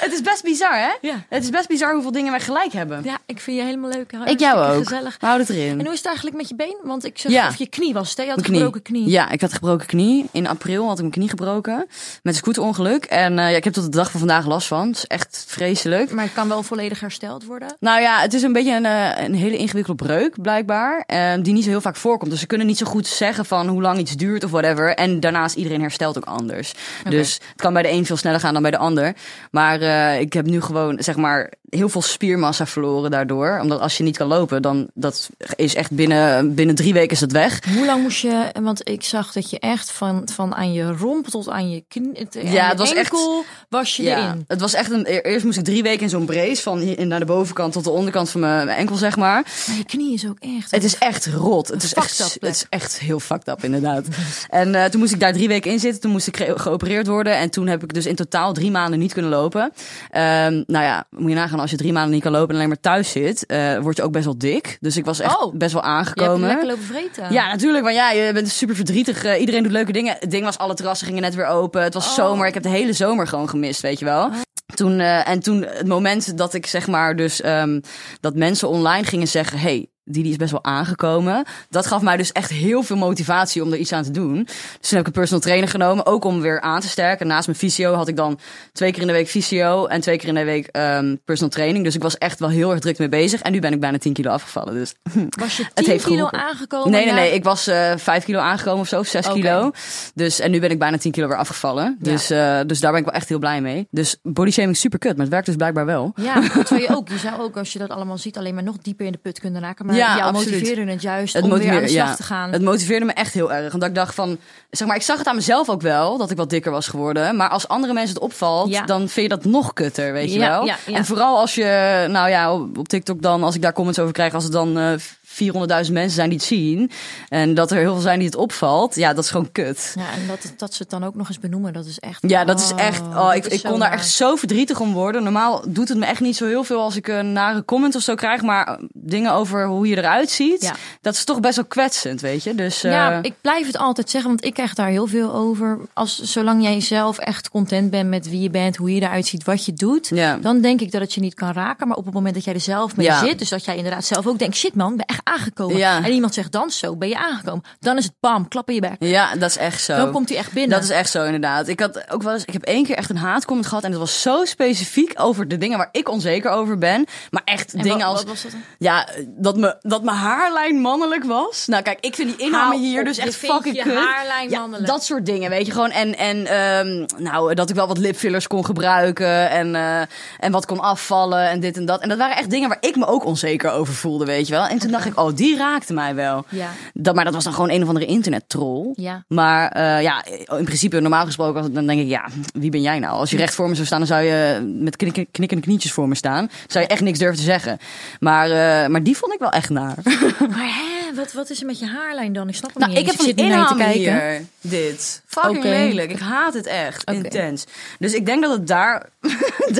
Speaker 2: het is best bizar, hè?
Speaker 3: Ja.
Speaker 2: Het is best bizar hoeveel dingen wij gelijk hebben.
Speaker 3: Ja, ik vind je helemaal leuk.
Speaker 2: ik jou
Speaker 3: Hartstikke
Speaker 2: ook.
Speaker 3: Gezellig.
Speaker 2: We houden het
Speaker 3: En
Speaker 2: erin.
Speaker 3: hoe is het eigenlijk met je been? Want ik zeg
Speaker 2: Ja.
Speaker 3: of je knie was het, hè? Je had
Speaker 2: Mijn
Speaker 3: een gebroken knie.
Speaker 2: Ja, ik ik had gebroken knie. In april had ik mijn knie gebroken. Met een scooterongeluk. En eh, ja, ik heb tot de dag van vandaag last van. Het is echt vreselijk.
Speaker 3: Maar het kan wel volledig hersteld worden.
Speaker 2: Nou ja, het is een beetje een, eh, een hele ingewikkelde breuk, blijkbaar. eh, die niet zo heel vaak voorkomt. Dus ze kunnen niet zo goed zeggen van hoe lang iets duurt of whatever. En daarnaast, iedereen herstelt ook anders. Dus het kan bij de een veel sneller gaan dan bij de ander. Maar eh, ik heb nu gewoon, zeg maar, heel veel spiermassa verloren daardoor. Omdat als je niet kan lopen, dan dat is echt binnen, binnen drie weken is het weg.
Speaker 3: Hoe lang moest je, want ik zag dat je echt van, van aan je romp tot aan je knie,
Speaker 2: Ja,
Speaker 3: ja,
Speaker 2: het was
Speaker 3: was
Speaker 2: echt-
Speaker 3: enkel, was je erin.
Speaker 2: Het was echt een. e- Eerst moest ik drie weken in zo'n brace van hier naar de bovenkant tot de onderkant van mijn mijn enkel, zeg maar.
Speaker 3: Maar je knie is ook echt.
Speaker 2: Het is echt rot. Het is echt,
Speaker 3: fucked up
Speaker 2: het
Speaker 3: plek.
Speaker 2: is echt heel fucked up, inderdaad. en eh, toen moest ik daar drie weken in zitten. Toen moest ik ge- geopereerd worden. En toen heb ik dus in totaal drie maanden niet kunnen lopen. Ehm, nou ja, moet je nagaan, als je drie maanden niet kan lopen en alleen maar thuis zit, eh, word je ook best wel dik. Dus ik was echt
Speaker 3: Oh.
Speaker 2: best wel
Speaker 3: je hebt
Speaker 2: aangekomen.
Speaker 3: lekker lopen vreten.
Speaker 2: Ja, natuurlijk. Want ja, je bent super verdrietig. Eh, iedereen doet leuke dingen. Het ding was, alle terrassen gingen net weer open. Het was zomer. Ik heb de hele zomer gewoon gemist, weet je wel. Toen, eh, en toen het moment dat ik zeg maar dus ehm, dat mensen online gingen zeggen... Hey, die, die is best wel aangekomen. Dat gaf mij dus echt heel veel motivatie om er iets aan te doen. Dus toen heb ik een personal trainer genomen, ook om weer aan te sterken. Naast mijn fysio had ik dan twee keer in de week fysio en twee keer in de week ehm, personal training. Dus ik was echt wel heel erg druk mee bezig. En nu ben ik bijna 10 kilo afgevallen. Dus
Speaker 3: Was je 10
Speaker 2: heeft
Speaker 3: kilo
Speaker 2: geholpen.
Speaker 3: aangekomen?
Speaker 2: Nee, nee,
Speaker 3: na-
Speaker 2: nee. Ik was eh 5 kilo aangekomen of zo, of 6
Speaker 3: Oké.
Speaker 2: kilo. Dus, en nu ben ik bijna 10 kilo weer afgevallen.
Speaker 3: Ja.
Speaker 2: Dus, eh, dus daar ben ik wel echt heel blij mee. Dus body shaming is super kut, maar het werkt dus blijkbaar wel.
Speaker 3: Ja, terwijl je ook, je zou ook als je dat allemaal ziet, alleen maar nog dieper in de put kunnen raken. Maar
Speaker 2: Ja,
Speaker 3: ja, jou
Speaker 2: absoluut.
Speaker 3: motiveerde het juist om weer aan de slag
Speaker 2: ja.
Speaker 3: te gaan.
Speaker 2: het motiveerde me echt heel erg. Want ik dacht van, zeg maar, ik zag het aan mezelf ook wel, dat ik wat dikker was geworden. Maar als andere mensen het opvalt,
Speaker 3: Ja.
Speaker 2: dan vind je dat nog kutter, weet je
Speaker 3: Ja,
Speaker 2: wel.
Speaker 3: ja, ja.
Speaker 2: En vooral als je, nou ja, op, op TikTok dan, als ik daar comments over krijg, als het dan eh 400.000 mensen zijn die het zien. En dat er heel veel zijn die het opvalt. Ja, dat is gewoon kut.
Speaker 3: Ja, en dat, dat ze het dan ook nog eens benoemen, dat is echt...
Speaker 2: Ja, dat is echt. Oh,
Speaker 3: dat
Speaker 2: ik,
Speaker 3: is
Speaker 2: ik
Speaker 3: zo
Speaker 2: kon daar
Speaker 3: naar.
Speaker 2: echt zo verdrietig om worden. Normaal doet het me echt niet zo heel veel als ik een nare comment of zo krijg. Maar eh, dingen over hoe je eruit ziet,
Speaker 3: Ja.
Speaker 2: dat is toch best wel kwetsend, weet je. Dus eh,
Speaker 3: Ja, ik blijf het altijd zeggen, want ik krijg daar heel veel over. Als, zolang jij zelf echt content bent met wie je bent, hoe je eruit ziet, wat je doet,
Speaker 2: Ja.
Speaker 3: dan denk ik dat het je niet kan raken. Maar op het moment dat jij er zelf mee
Speaker 2: Ja.
Speaker 3: zit, dus dat jij inderdaad zelf ook denkt, shit man, ik ben echt aangekomen.
Speaker 2: Ja.
Speaker 3: En iemand zegt dan zo, ben je aangekomen. Dan is het bam, klap in je bek.
Speaker 2: ja, dat is echt zo.
Speaker 3: Dan komt hij echt binnen.
Speaker 2: Dat is echt zo, inderdaad. Ik, had ook wel eens, ik heb één keer echt een haatcomment gehad. En dat was zo specifiek over de dingen waar ik onzeker over ben. Maar echt
Speaker 3: En
Speaker 2: dingen
Speaker 3: wat-
Speaker 2: als.
Speaker 3: wat was dat dan?
Speaker 2: Ja, dat, me, dat mijn haarlijn mannelijk was. Nou, kijk, ik vind die inname
Speaker 3: Hou
Speaker 2: hier
Speaker 3: op,
Speaker 2: dus
Speaker 3: je
Speaker 2: echt
Speaker 3: vindt
Speaker 2: fucking
Speaker 3: je
Speaker 2: kut.
Speaker 3: haarlijn
Speaker 2: Ja,
Speaker 3: mannelijk.
Speaker 2: dat soort dingen, weet je gewoon. En, en ehm, nou, dat ik wel wat lipfillers kon gebruiken. En, eh, en wat kon afvallen en dit en dat. En dat waren echt dingen waar ik me ook onzeker over voelde, weet je wel. En toen dacht ik, oh, die raakte mij wel.
Speaker 3: Ja.
Speaker 2: Dat, maar dat was dan gewoon een of andere internettroll.
Speaker 3: Ja.
Speaker 2: Maar eh, ja, in principe, normaal gesproken, als het- dan denk ik, ja, wie ben jij nou? Als je recht voor me zou staan, dan zou je met knikken, knikkende knietjes voor me staan. Zou je echt niks durven te zeggen. Maar, eh, maar die vond ik wel echt naar.
Speaker 3: Maar hè, wat, wat is er met je haarlijn dan? Ik snap het
Speaker 2: Nou,
Speaker 3: niet
Speaker 2: ik
Speaker 3: eens.
Speaker 2: heb van
Speaker 3: zit
Speaker 2: die
Speaker 3: nu naar je
Speaker 2: inhamen hier. Dit. Fucking
Speaker 3: Oké.
Speaker 2: lelijk. Ik haat het echt.
Speaker 3: Oké.
Speaker 2: Intens. Dus ik denk dat het daar,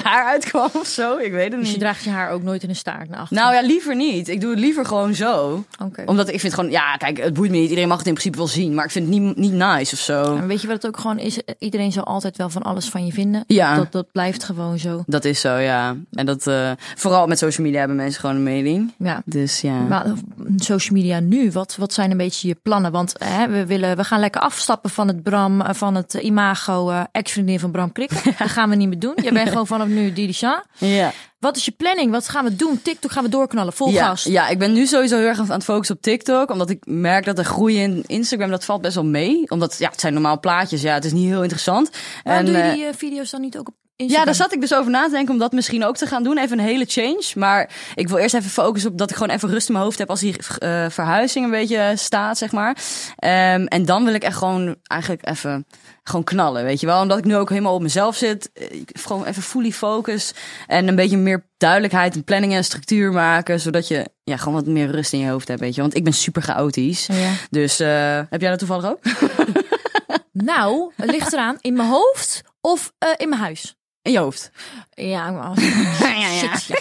Speaker 2: daaruit kwam of zo. Ik weet het
Speaker 3: Dus je
Speaker 2: niet.
Speaker 3: draagt je haar ook nooit in een staart naar achteren?
Speaker 2: Nou ja, liever niet. Ik doe het liever gewoon zo.
Speaker 3: Oké.
Speaker 2: Omdat ik vind gewoon, ja, kijk, het boeit me niet. Iedereen mag het in principe wel zien. Maar ik vind het niet, niet nice of zo.
Speaker 3: Maar weet je wat het ook gewoon is? Iedereen zal altijd wel van alles van je vinden.
Speaker 2: Ja.
Speaker 3: Dat, dat blijft gewoon zo.
Speaker 2: Dat is zo, ja. En dat, eh, vooral met social media hebben mensen gewoon een mening.
Speaker 3: Ja.
Speaker 2: Dus ja.
Speaker 3: Maar eh, social media nu, wat, wat zijn een beetje je plannen? Want hè, we, willen, we gaan lekker afstappen van het Bram, eh, van het eh, imago eh, ex-vriendin van Bram Krikken. Dat gaan we niet meer doen. Je bent gewoon vanaf nu Didi Sha.
Speaker 2: ja.
Speaker 3: Wat is je planning? Wat gaan we doen? TikTok gaan we doorknallen, vol
Speaker 2: Ja,
Speaker 3: gas.
Speaker 2: ja, ik ben nu sowieso heel erg aan het focussen op TikTok. Omdat ik merk dat de groei in Instagram, dat valt best wel mee. Omdat, ja, het zijn normaal plaatjes. Ja, het is niet heel interessant.
Speaker 3: Waarom doe je
Speaker 2: eh,
Speaker 3: die eh, video's dan niet ook op
Speaker 2: ja,
Speaker 3: Instagram?
Speaker 2: daar zat ik dus over na te denken om dat misschien ook te gaan doen. Even een hele change. Maar ik wil eerst even focussen op dat ik gewoon even rust in mijn hoofd heb als die eh, verhuizing een beetje eh, staat, zeg maar. Ehm, en dan wil ik echt gewoon eigenlijk even gewoon knallen, weet je wel. Omdat ik nu ook helemaal op mezelf zit. eh, ik- Gewoon even fully focus en een beetje meer duidelijkheid en planning en structuur maken. Zodat je ja, gewoon wat meer rust in je hoofd hebt, weet je. Want ik ben super chaotisch.
Speaker 3: Ja.
Speaker 2: Dus eh, heb jij dat toevallig ook?
Speaker 3: Nou, het ligt eraan. In mijn hoofd of eh, in mijn huis?
Speaker 2: In je hoofd.
Speaker 3: Ja, maar-
Speaker 2: Ja, ja.
Speaker 3: Shit, ja.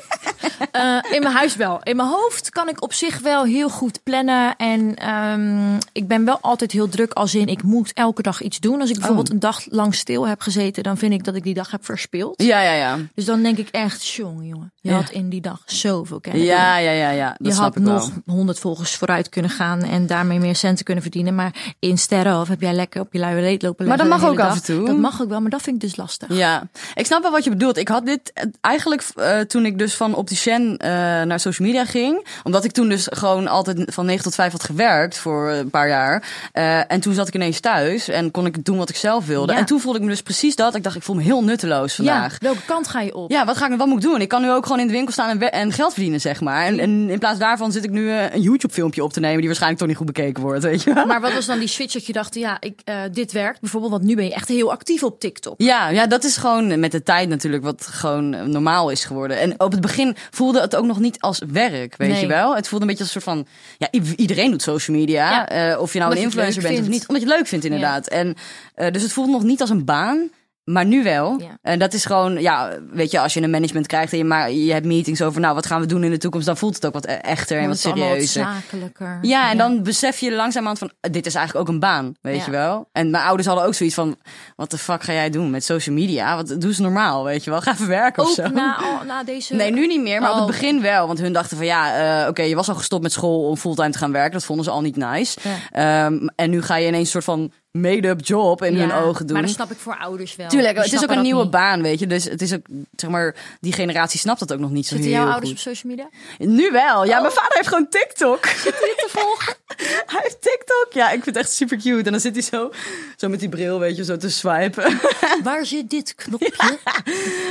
Speaker 3: Eh, in mijn huis wel. In mijn hoofd kan ik op zich wel heel goed plannen. En ehm, ik ben wel altijd heel druk als in ik moet elke dag iets doen. Als ik bijvoorbeeld
Speaker 2: Oh.
Speaker 3: een dag lang stil heb gezeten, dan vind ik dat ik die dag heb verspeeld.
Speaker 2: Ja, ja, ja.
Speaker 3: Dus dan denk ik echt, jongen, jongen, je
Speaker 2: Ja.
Speaker 3: had in die dag zoveel kennis.
Speaker 2: Ja, ja, ja, ja. Dat
Speaker 3: je
Speaker 2: snap
Speaker 3: had
Speaker 2: ik
Speaker 3: nog
Speaker 2: wel.
Speaker 3: 100 volgers vooruit kunnen gaan en daarmee meer centen kunnen verdienen. Maar in sterren of heb jij lekker op je luie leed lopen
Speaker 2: Maar dat
Speaker 3: leggen
Speaker 2: mag
Speaker 3: de hele
Speaker 2: ook af en
Speaker 3: dag.
Speaker 2: toe.
Speaker 3: Dat mag ook wel, maar dat vind ik dus lastig.
Speaker 2: Ja, ik snap wel wat je bedoelt. Ik had dit eh, eigenlijk eh, toen ik dus van opticien eh, naar social media ging. Omdat ik toen dus gewoon altijd van 9 tot 5 had gewerkt voor een paar jaar. Eh, en toen zat ik ineens thuis en kon ik doen wat ik zelf wilde.
Speaker 3: Ja.
Speaker 2: En toen voelde ik me dus precies dat. Ik dacht, ik voel me heel nutteloos vandaag.
Speaker 3: Ja, welke kant ga je op?
Speaker 2: Ja, wat, ga ik, wat moet ik doen? Ik kan nu ook gewoon in de winkel staan en, we- en geld verdienen, zeg maar. En, en in plaats daarvan zit ik nu eh, een YouTube-filmpje op te nemen... die waarschijnlijk toch niet goed bekeken wordt, weet je wel.
Speaker 3: Maar wat was dan die switch dat je dacht, ja, ik, eh, dit werkt bijvoorbeeld, want nu ben je echt heel actief op TikTok.
Speaker 2: Ja, ja, dat is gewoon met de tijd natuurlijk wat gewoon eh, normaal is geworden. En op het begin voelde het ook nog niet als werk, weet
Speaker 3: Nee.
Speaker 2: je wel? Het voelde een beetje als een soort van... Ja, i- iedereen doet social media.
Speaker 3: Ja.
Speaker 2: eh, of je nou
Speaker 3: Omdat je
Speaker 2: een
Speaker 3: het
Speaker 2: influencer
Speaker 3: leuk
Speaker 2: bent of
Speaker 3: vindt.
Speaker 2: niet. Omdat je het leuk vindt, inderdaad. En, eh, dus het voelde nog niet als een baan. Maar nu wel.
Speaker 3: Ja.
Speaker 2: En dat is gewoon, ja, weet je, als je een management krijgt en je, maar, je hebt meetings over, nou, wat gaan we doen in de toekomst, dan voelt het ook wat eh, echter en
Speaker 3: Dan
Speaker 2: wat
Speaker 3: wordt het allemaal wat
Speaker 2: serieuzer.
Speaker 3: zakelijker.
Speaker 2: Ja, en dan besef je langzamerhand van, eh, dit is eigenlijk ook een baan, weet
Speaker 3: Ja.
Speaker 2: je wel. En mijn ouders hadden ook zoiets van, wat de fuck ga jij doen met social media? Wat doe ze normaal, weet je wel? Ga even werken of
Speaker 3: Ook
Speaker 2: zo.
Speaker 3: na, al- na deze...
Speaker 2: Nee, nu niet meer, maar op
Speaker 3: Oh.
Speaker 2: het begin wel. Want hun dachten van, ja, eh, oké, je was al gestopt met school om fulltime te gaan werken. Dat vonden ze al niet nice. Ehm, en nu ga je ineens een soort van made-up job in
Speaker 3: Ja,
Speaker 2: hun ogen doen.
Speaker 3: Maar dat snap ik voor ouders wel.
Speaker 2: Tuurlijk,
Speaker 3: Die
Speaker 2: het is ook
Speaker 3: snappen
Speaker 2: een
Speaker 3: dat
Speaker 2: nieuwe
Speaker 3: niet.
Speaker 2: baan, weet je. Dus het is ook, zeg maar, die generatie snapt dat ook nog niet zo
Speaker 3: Zitten
Speaker 2: heel
Speaker 3: jouw
Speaker 2: goed.
Speaker 3: ouders op Oh. social media?
Speaker 2: Nu wel. Ja, mijn vader heeft gewoon TikTok. Zit hij te volgen? hij heeft TikTok. Ja, ik vind het echt super cute. En dan zit hij zo, zo met die bril, weet je, zo te swipen.
Speaker 3: Waar zit dit knopje?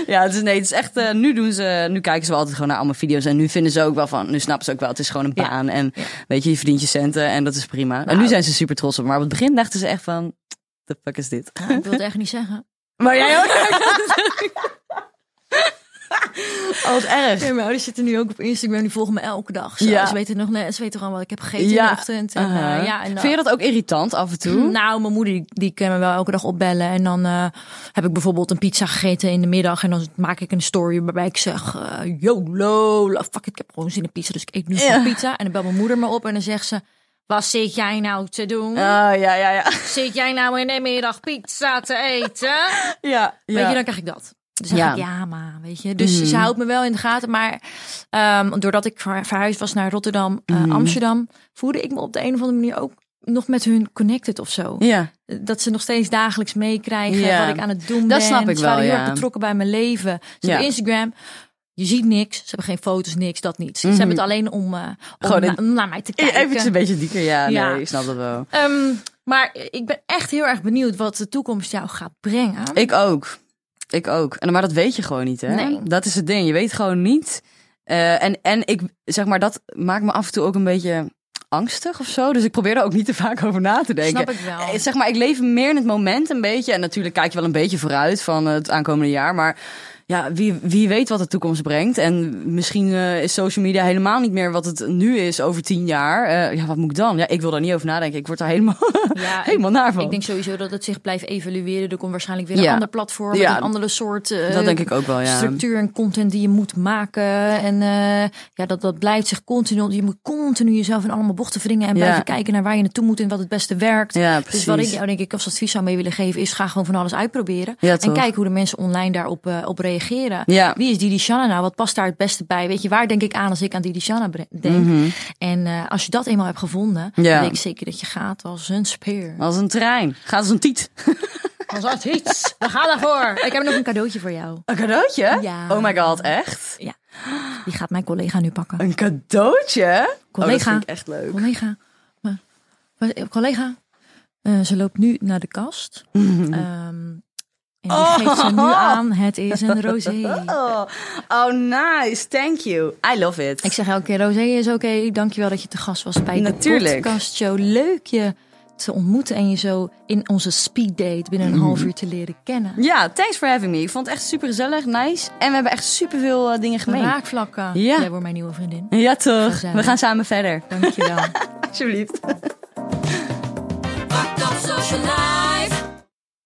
Speaker 2: ja, het is, nee, het is echt. eh, nu doen ze, nu kijken ze wel altijd gewoon naar allemaal video's. En nu vinden ze ook wel van, nu snappen ze ook wel, het is gewoon een
Speaker 3: Ja. Nou.
Speaker 2: baan. En weet je, je verdient je centen en dat is prima. En nu zijn ze super trots op. me. Maar op het begin dachten ze echt van, the fuck is dit?
Speaker 3: Nou, ik wil het echt niet zeggen.
Speaker 2: Maar jij ook? Oh, wat erg.
Speaker 3: Nee, mijn ouders zitten nu ook op Instagram. Die volgen me elke dag. Zo,
Speaker 2: Ja.
Speaker 3: Ze weten nog net. Ze weten gewoon wat ik heb gegeten in
Speaker 2: Ja.
Speaker 3: de ochtend. En,
Speaker 2: Aha.
Speaker 3: eh, ja, en dan-
Speaker 2: Vind je dat ook irritant af en toe?
Speaker 3: Nou, mijn moeder die, die kan me wel elke dag opbellen. En dan eh, heb ik bijvoorbeeld een pizza gegeten in de middag. En dan maak ik een story waarbij ik zeg... eh YOLO, la- fuck, ik heb gewoon zin in pizza. Dus ik eet nu
Speaker 2: Ja.
Speaker 3: gewoon pizza. En dan belt mijn moeder me op en dan zegt ze... Wat zit jij nou te doen?
Speaker 2: Oh, ja, ja, ja.
Speaker 3: Zit jij nou in de middag pizza te eten?
Speaker 2: ja,
Speaker 3: Weet
Speaker 2: ja.
Speaker 3: je, dan krijg ik dat. Dus dan
Speaker 2: Ja. Hmm.
Speaker 3: ja. ik, ja, maar, weet je. Dus ze houdt me wel in de gaten. Maar ehm, doordat ik ver- verhuisd was naar Rotterdam, eh,
Speaker 2: Hmm.
Speaker 3: Amsterdam... voelde ik me op de een of andere manier ook nog met hun connected of zo
Speaker 2: Ja.
Speaker 3: dat ze nog steeds dagelijks meekrijgen
Speaker 2: Ja.
Speaker 3: wat ik aan het doen ben.
Speaker 2: Dat snap ik
Speaker 3: Ze waren
Speaker 2: wel,
Speaker 3: heel
Speaker 2: ja.
Speaker 3: erg betrokken bij mijn leven. Ze
Speaker 2: Ja.
Speaker 3: hebben Instagram. Je ziet niks. Ze hebben geen foto's, niks, dat niet. Ze hebben het alleen om, eh, om
Speaker 2: Mhm. Gewoon
Speaker 3: na-
Speaker 2: een-
Speaker 3: om naar mij te kijken.
Speaker 2: Even een beetje dieker, ja.
Speaker 3: eh, Ja.
Speaker 2: Nee, ik snap dat wel.
Speaker 3: Ehm, maar ik ben echt heel erg benieuwd wat de toekomst jou gaat brengen.
Speaker 2: Ik ook. Ik ook. En, maar dat weet je gewoon niet, hè?
Speaker 3: Nee.
Speaker 2: Dat is het ding. Je weet gewoon niet. Eh, en, en ik zeg maar, dat maakt me af en toe ook een beetje angstig of zo. Dus ik probeer er ook niet te vaak over na te denken.
Speaker 3: Snap ik wel.
Speaker 2: Eh, Zeg maar, ik leef meer in het moment een beetje. En natuurlijk kijk je wel een beetje vooruit van het aankomende jaar. Maar ja, wie, wie weet wat de toekomst brengt. En misschien eh, is social media helemaal niet meer wat het nu is over tien jaar. Eh, ja, wat moet ik dan? Ja, ik wil daar niet over nadenken. Ik word daar helemaal,
Speaker 3: Ja, ik-
Speaker 2: helemaal naar van.
Speaker 3: Ik denk sowieso dat het zich blijft evalueren. Er komt waarschijnlijk weer een
Speaker 2: Ja.
Speaker 3: ander platform.
Speaker 2: Ja.
Speaker 3: Met een andere soort eh,
Speaker 2: dat denk ik ook wel, ja.
Speaker 3: structuur en content die je moet maken. En eh, ja, dat, dat blijft zich continu. Je moet continu jezelf in allemaal bochten wringen. En
Speaker 2: Ja.
Speaker 3: blijven kijken naar waar je naartoe moet en wat het beste werkt.
Speaker 2: Ja,
Speaker 3: dus wat ik
Speaker 2: precies.
Speaker 3: jou denk ik als advies zou mee willen geven, is ga gewoon van alles uitproberen.
Speaker 2: Ja,
Speaker 3: en
Speaker 2: toch.
Speaker 3: kijk hoe de mensen online daarop eh, op reageren.
Speaker 2: Ja.
Speaker 3: Wie is Didi Shanna nou? Wat past daar het beste bij? Weet je, waar denk ik aan als ik aan Didi Shanna bre- denk? En eh, als je dat eenmaal hebt gevonden,
Speaker 2: Mhm. Ja.
Speaker 3: dan weet ik zeker dat je gaat als een speer.
Speaker 2: Als een trein. Gaat als een tiet.
Speaker 3: Als advies. We gaan daarvoor. Ik heb nog een cadeautje voor jou.
Speaker 2: Een cadeautje?
Speaker 3: Ja.
Speaker 2: Oh my god, echt?
Speaker 3: Ja. Die gaat mijn collega nu pakken.
Speaker 2: Een cadeautje? Oh, dat
Speaker 3: Collega.
Speaker 2: vind ik echt leuk.
Speaker 3: Collega. Maar, maar, eh, collega. eh, ze loopt nu naar de kast. Ehm, en die geeft ze nu aan. Het is een rosé.
Speaker 2: Oh, oh, nice. Thank you. I love it.
Speaker 3: Ik zeg elke keer, rosé is oké. Dankjewel dat je te gast was bij
Speaker 2: Natuurlijk.
Speaker 3: de podcast show. Leuk je te ontmoeten en je zo in onze speeddate binnen een half uur te leren kennen.
Speaker 2: Ja, thanks for having me. Ik vond het echt super gezellig, nice. En we hebben echt super veel dingen gemeen.
Speaker 3: Raakvlakken.
Speaker 2: Ja.
Speaker 3: Jij wordt mijn nieuwe vriendin.
Speaker 2: Ja, toch?
Speaker 3: Gezellig.
Speaker 2: We gaan samen verder.
Speaker 3: Dankjewel.
Speaker 2: Alsjeblieft.
Speaker 4: Fucked up social life.